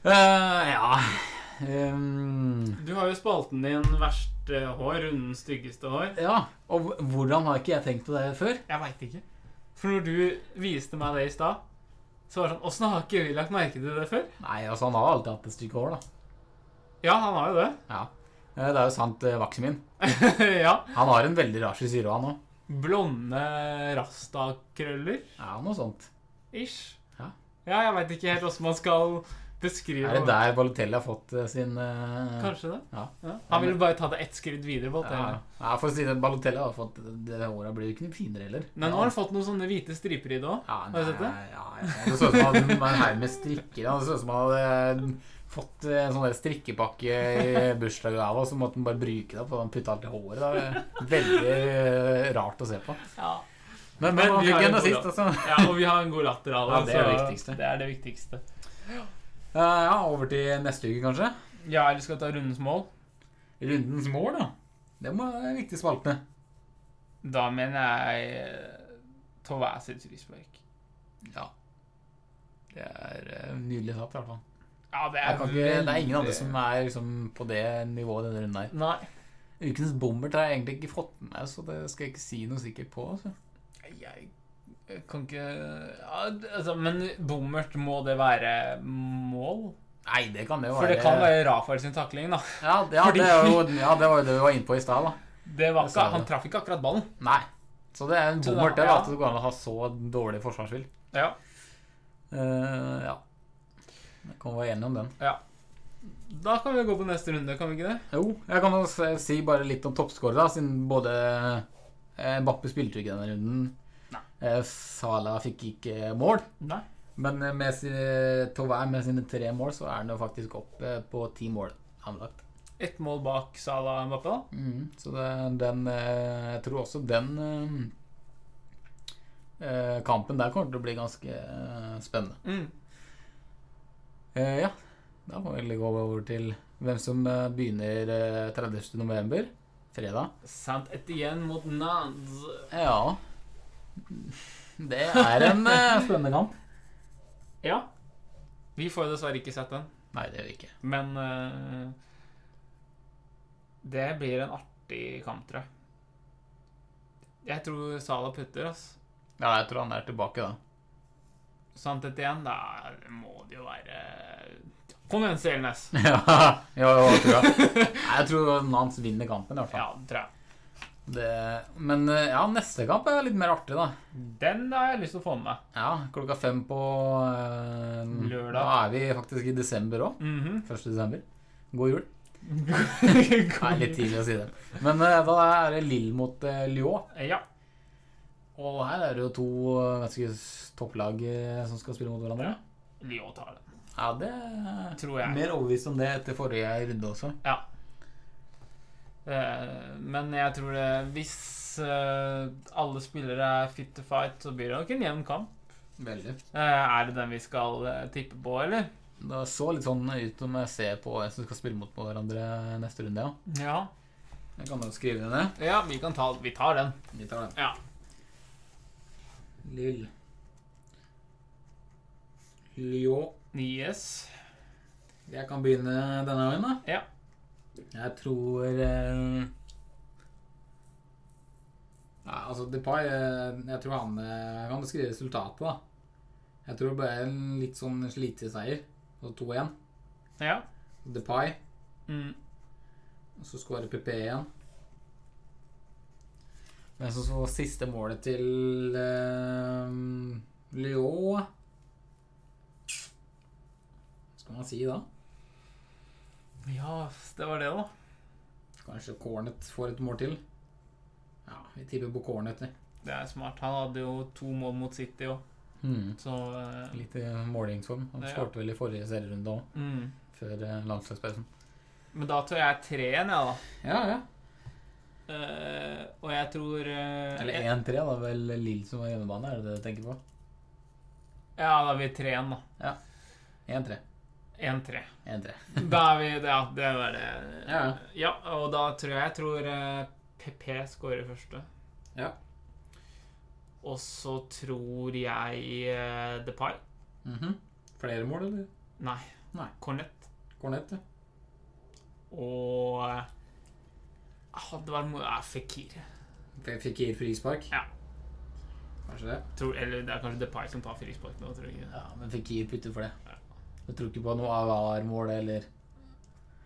Speaker 1: Eh, ja Ehm,
Speaker 2: Du har jo spalten din verste hår, rundens styggeste hår.
Speaker 1: Ja, og h- hvordan har ikke jeg tenkt på det før?
Speaker 2: Jeg veit ikke. For når du viste meg det i stad, så var det sånn Åssen har ikke vi lagt merke til det før?
Speaker 1: Nei, altså Han har alltid hatt et stykke hår, da.
Speaker 2: Ja, han har jo det.
Speaker 1: Ja. Eh, Det er jo sant, eh, Vaksen min.
Speaker 2: *laughs* ja.
Speaker 1: Han har en veldig rar frisyre, han òg.
Speaker 2: Blonde rastakrøller.
Speaker 1: Ja, noe sånt.
Speaker 2: Ish.
Speaker 1: Ja.
Speaker 2: Ja, jeg veit ikke helt åssen man skal Beskriv
Speaker 1: Er det der Balotelli har fått eh, sin eh,
Speaker 2: Kanskje det.
Speaker 1: Ja.
Speaker 2: Han ville bare ta det ett skritt
Speaker 1: ja.
Speaker 2: videre. Balotelli.
Speaker 1: ja, for å si det, Balotelli har fått Det håret blir jo ikke noe finere heller.
Speaker 2: Men nå har han fått noen sånne hvite striper i det òg.
Speaker 1: ja,
Speaker 2: Har du sett det?
Speaker 1: nei, Ja, ja. Det så ut som han var en haug med strikker. Han så ut som han hadde fått eh, en sånn der strikkepakke i bursdagsgave, og så måtte han bare bruke det på han putta alt i håret. Da. Veldig eh, rart å se på.
Speaker 2: Ja.
Speaker 1: Men,
Speaker 2: Men
Speaker 1: men han
Speaker 2: vi har
Speaker 1: fikk en
Speaker 2: jo god
Speaker 1: nazist, altså.
Speaker 2: ja, og vi har en god latter av
Speaker 1: Ja, det er det
Speaker 2: så
Speaker 1: viktigste.
Speaker 2: Det er det viktigste.
Speaker 1: Eh, Ja, over til neste uke, kanskje.
Speaker 2: Ja, eller skal vi ta rundens mål?
Speaker 1: Rundens mål, da. Det må være en viktig spalte.
Speaker 2: Da mener jeg eh, Tovær sitt frispark.
Speaker 1: Ja. Det er eh, nydelig sagt, i hvert fall.
Speaker 2: Ja, det
Speaker 1: Jeg
Speaker 2: er
Speaker 1: kan ikke, det er ingen
Speaker 2: veldig-
Speaker 1: andre som er liksom, på det nivået i denne runden her.
Speaker 2: Nei.
Speaker 1: Ukens bommert har jeg egentlig ikke fått med meg, så det skal jeg ikke si noe sikkert på. Altså.
Speaker 2: Jeg kan ikke ja, det- altså, Men bommert, må det være mål?
Speaker 1: Nei, det kan det jo
Speaker 2: For det kan være Rafael sin takling, da.
Speaker 1: Ja, det, ja,
Speaker 2: fordi-
Speaker 1: det er jo, ja, det var jo det vi var inne på i stad, da.
Speaker 2: Det var
Speaker 1: Jeg sa
Speaker 2: ikke,
Speaker 1: det.
Speaker 2: han traff ikke akkurat ballen.
Speaker 1: Nei. Så det er en
Speaker 2: Så da-
Speaker 1: bommert, det, da,
Speaker 2: ja.
Speaker 1: at det går an å ha så dårlig forsvarsspill.
Speaker 2: Ja.
Speaker 1: Eh, ja. Jeg kan være enig om den.
Speaker 2: Da kan vi gå på neste runde, kan vi ikke det?
Speaker 1: Jo, jeg kan jo s- si bare litt om toppskårer, da, siden både eh, Bappe spilte jo ikke denne runden.
Speaker 2: Nei.
Speaker 1: Eh, Salah fikk ikke mål.
Speaker 2: Nei.
Speaker 1: Men eh, med sine, Tovær med sine tre mål, så er han jo faktisk opp eh, på ti mål anlagt.
Speaker 2: Ett mål bak Salah og Mbappé, da.
Speaker 1: Mm, så det, den eh, Jeg tror også den eh, eh, kampen der kommer til å bli ganske eh, spennende.
Speaker 2: Mm.
Speaker 1: Eh, ja, da må vi egentlig gå over til hvem som eh, begynner eh, 30. november, fredag.
Speaker 2: Sant Etienne mot Nanz.
Speaker 1: Ja Det er en eh, *laughs* spennende kamp.
Speaker 2: Ja. Vi får jo dessverre ikke sett den,
Speaker 1: Nei, det gjør vi ikke.
Speaker 2: men eh, Det blir en artig kamp, tror jeg. Jeg tror Salah putter, altså.
Speaker 1: Ja, jeg tror han er tilbake, da.
Speaker 2: Sant Etienne, da må det jo være Kom igjen, Selnes.
Speaker 1: *laughs* ja, ja, ja, tror jeg. Nei, jeg tror Nance vinner kampen, i hvert fall.
Speaker 2: Ja, det tror jeg.
Speaker 1: Det, men eh, ja, neste kamp er litt mer artig, da.
Speaker 2: Den har jeg lyst til å få med meg.
Speaker 1: Ja, klokka fem på eh,
Speaker 2: Lørdag.
Speaker 1: Da er vi faktisk i desember òg.
Speaker 2: *laughs*
Speaker 1: 1. desember. God jul. Det er litt tidlig å si det. Men eh, da er det Lill mot eh, Lyon.
Speaker 2: Ja.
Speaker 1: Og her er det jo to eh, ganske s- topplag eh, som skal spille mot hverandre.
Speaker 2: Ja. Lyon tar den.
Speaker 1: Ja, det er
Speaker 2: Tror jeg.
Speaker 1: Mer overbevist om det etter forrige runde også.
Speaker 2: Ja. Eh, Men jeg tror det Hvis eh, alle spillere er fit to fight, så blir det nok en jevn kamp.
Speaker 1: Veldig.
Speaker 2: Eh, Er det den vi skal eh, tippe på, eller?
Speaker 1: Det så litt sånn ut om jeg ser på hvem som skal spille mot hverandre neste runde, ja.
Speaker 2: Ja.
Speaker 1: Jeg kan jo skrive det ned.
Speaker 2: Ja, vi kan ta Vi tar den.
Speaker 1: Vi tar den.
Speaker 2: Ja.
Speaker 1: Lill. Lyon.
Speaker 2: Yes.
Speaker 1: Jeg kan begynne denne gangen, da.
Speaker 2: Ja.
Speaker 1: Jeg tror eh, Nei, altså Depay eh, Jeg tror han eh, Jeg kan skrive resultatet, da. Jeg tror det ble en litt sånn sliteseier. Så 2-1.
Speaker 2: Ja.
Speaker 1: Depay,
Speaker 2: Mm.
Speaker 1: og så skårer PP igjen. Men så, så siste målet til eh, Lyon Hva skal man si da?
Speaker 2: Ja, det var det, da.
Speaker 1: Kanskje Cornet får et mål til? Ja, vi tipper på Cornet. vi.
Speaker 2: Det er smart. Han hadde jo to mål mot City òg, så eh,
Speaker 1: Mm. Litt i målingsform. Han
Speaker 2: Ja.
Speaker 1: skårte vel i forrige serierunde òg,
Speaker 2: mm.
Speaker 1: før eh, landslagspausen.
Speaker 2: Men da tror jeg 3-1, jeg, da.
Speaker 1: Ja, ja.
Speaker 2: Eh, og jeg tror eh,
Speaker 1: Eller
Speaker 2: jeg-
Speaker 1: 1-3, da. Vel Lill som var hjemmebane, er det det du tenker på?
Speaker 2: Ja, da blir det 3-1, da.
Speaker 1: 1-3.
Speaker 2: 1-3.
Speaker 1: 1-3.
Speaker 2: Da er vi Ja, det var det.
Speaker 1: Ja, ja.
Speaker 2: og da tror jeg jeg tror eh, PP skårer første.
Speaker 1: Ja.
Speaker 2: Og så tror jeg eh, Depay.
Speaker 1: Mhm. Flere mål, eller?
Speaker 2: Nei.
Speaker 1: Nei.
Speaker 2: Cornet.
Speaker 1: Cornet, ja.
Speaker 2: Og eh, ah, Det var ja, Fikir.
Speaker 1: F- Fikir frispark?
Speaker 2: Ja.
Speaker 1: Kanskje det.
Speaker 2: Tror, eller det er kanskje Depay som tar frispark nå, tror jeg. ikke.
Speaker 1: Ja, men Fikir putter for det.
Speaker 2: Ja.
Speaker 1: Du tror ikke på noe AVAR-mål eller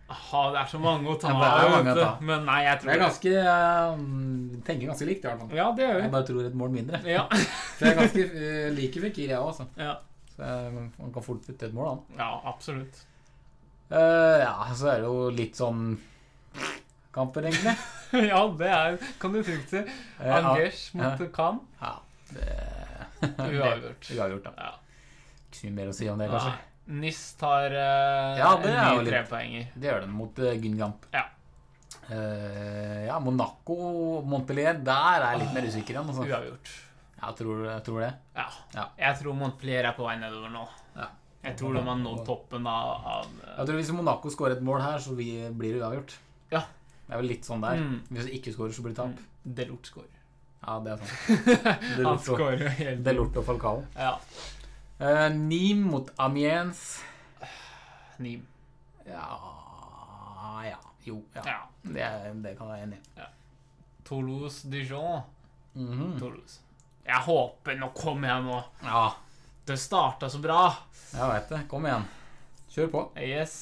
Speaker 2: Aha, Ah, det er så mange å ta
Speaker 1: Ja,
Speaker 2: av,
Speaker 1: det er mange
Speaker 2: vet
Speaker 1: å
Speaker 2: du.
Speaker 1: ta.
Speaker 2: Men nei, jeg
Speaker 1: Det er
Speaker 2: tror
Speaker 1: ganske eh, Tenker ganske likt, i hvert fall.
Speaker 2: Ja, det gjør
Speaker 1: Jeg
Speaker 2: vi.
Speaker 1: bare tror et mål mindre.
Speaker 2: Ja. *laughs*
Speaker 1: For jeg er ganske eh, liker Fikir, jeg òg, altså.
Speaker 2: ja.
Speaker 1: Så Det er- Man kan fort putte et mål, han.
Speaker 2: Ja, absolutt. *laughs*
Speaker 1: Eh, ja, så er det jo litt sånn kamper, egentlig.
Speaker 2: ja, det er, kan du trygt si.
Speaker 1: Eh, ja.
Speaker 2: Angers mot Cannes.
Speaker 1: Ja, det
Speaker 2: Uavgjort.
Speaker 1: Uavgjort, da.
Speaker 2: Ja.
Speaker 1: Ikke så mye mer å si om det, kanskje.
Speaker 2: Nei. Nis Ah, tar eh,
Speaker 1: Ja, det er jo
Speaker 2: ni
Speaker 1: litt-
Speaker 2: trepoenger.
Speaker 1: Det gjør den mot uh, Gungamp.
Speaker 2: Ja.
Speaker 1: Eh, ja, Monaco, Montpellier, der er jeg litt mer usikker igjen. Altså.
Speaker 2: Uavgjort.
Speaker 1: Jeg tror, jeg tror det.
Speaker 2: Ja.
Speaker 1: Ja.
Speaker 2: Jeg tror Montpellier er på vei nedover nå.
Speaker 1: Ja.
Speaker 2: Jeg tror de har nådd toppen av, av eh,
Speaker 1: Jeg tror Hvis Monaco skårer et mål her, så vi blir det uavgjort.
Speaker 2: Ja.
Speaker 1: Det er vel litt sånn der.
Speaker 2: Mm.
Speaker 1: Hvis vi ikke skårer, så blir det tap.
Speaker 2: Delort scorer.
Speaker 1: Ja, det er sant.
Speaker 2: *laughs*
Speaker 1: Det
Speaker 2: Han
Speaker 1: lort, og-
Speaker 2: scorer jo helt
Speaker 1: det er lort og Falcao.
Speaker 2: Ja.
Speaker 1: Uh, Nîmes mot Amiens.
Speaker 2: Nim.
Speaker 1: Ja ja. Jo, ja.
Speaker 2: Ja.
Speaker 1: Det, er- det kan jeg være enig i.
Speaker 2: Toulouse Dijon.
Speaker 1: Mhm.
Speaker 2: Toulouse. Jeg håper Nå kom jeg nå.
Speaker 1: Ja,
Speaker 2: Det starta så bra.
Speaker 1: jeg veit det. Kom igjen. Kjør på.
Speaker 2: Yes.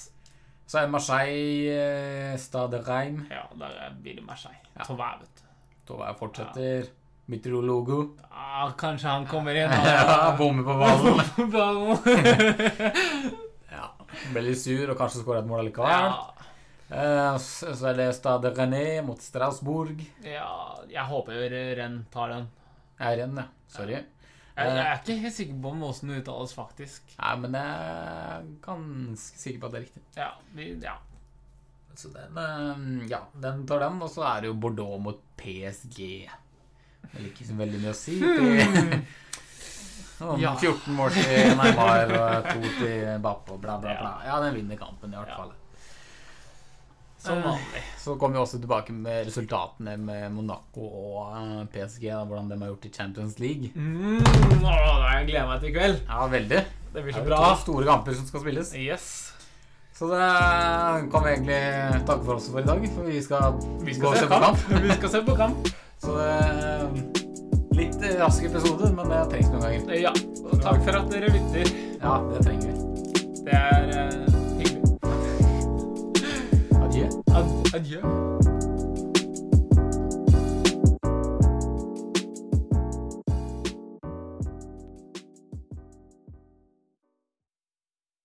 Speaker 1: Så er det Marseille, eh, Stade Reim.
Speaker 2: Ja, der blir det Marseille.
Speaker 1: Ja.
Speaker 2: Tauvin, vet du.
Speaker 1: Tove fortsetter. Myteorologo.
Speaker 2: Ah, kanskje han kommer inn.
Speaker 1: *laughs* Ja, Bommer på ballen.
Speaker 2: Ballen.
Speaker 1: *laughs* Ja. Ble litt sur og kanskje skåra et mål allikevel.
Speaker 2: ja.
Speaker 1: Eh, s- Så er det Stade René mot Strasbourg.
Speaker 2: ja, jeg håper Renn tar den.
Speaker 1: Jeg renner, ja. Sorry. Eh.
Speaker 2: Jeg, jeg er ikke helt sikker på om hvordan det uttales, faktisk.
Speaker 1: Nei, men jeg er ganske sikker på at det er riktig.
Speaker 2: Ja, vi, ja.
Speaker 1: Så den, eh, ja, den tar den, og så er det jo Bordeaux mot PSG. Det er ikke så veldig mye å si. til- Sånn
Speaker 2: Hmm. Ja.
Speaker 1: 14 mål til Neymar og 2 til Bappe og bla, bla,
Speaker 2: Ja.
Speaker 1: bla. Ja, den vinner kampen i hvert
Speaker 2: Ja.
Speaker 1: fall.
Speaker 2: Som vanlig.
Speaker 1: Så kom vi også tilbake med resultatene med Monaco og eh, PSG, da, hvordan de har gjort i Champions League.
Speaker 2: Mm, å, da, jeg gleder meg til i kveld.
Speaker 1: Ja, veldig.
Speaker 2: Det blir
Speaker 1: Det
Speaker 2: så
Speaker 1: er jo
Speaker 2: bra.
Speaker 1: to store kamper som skal spilles.
Speaker 2: Yes.
Speaker 1: Så det eh, kan vi egentlig takke for oss for i dag, for vi skal,
Speaker 2: Vi
Speaker 1: gå
Speaker 2: skal,
Speaker 1: og
Speaker 2: se
Speaker 1: se på
Speaker 2: kamp.
Speaker 1: kamp.
Speaker 2: vi skal se på kamp.
Speaker 1: Så det Litt rask episode, men det trengs noen ganger.
Speaker 2: Ja. Og takk for at dere lytter.
Speaker 1: Ja, det trenger vi.
Speaker 2: Det er eh, hyggelig.
Speaker 1: Adjø.
Speaker 2: Ad, adjø.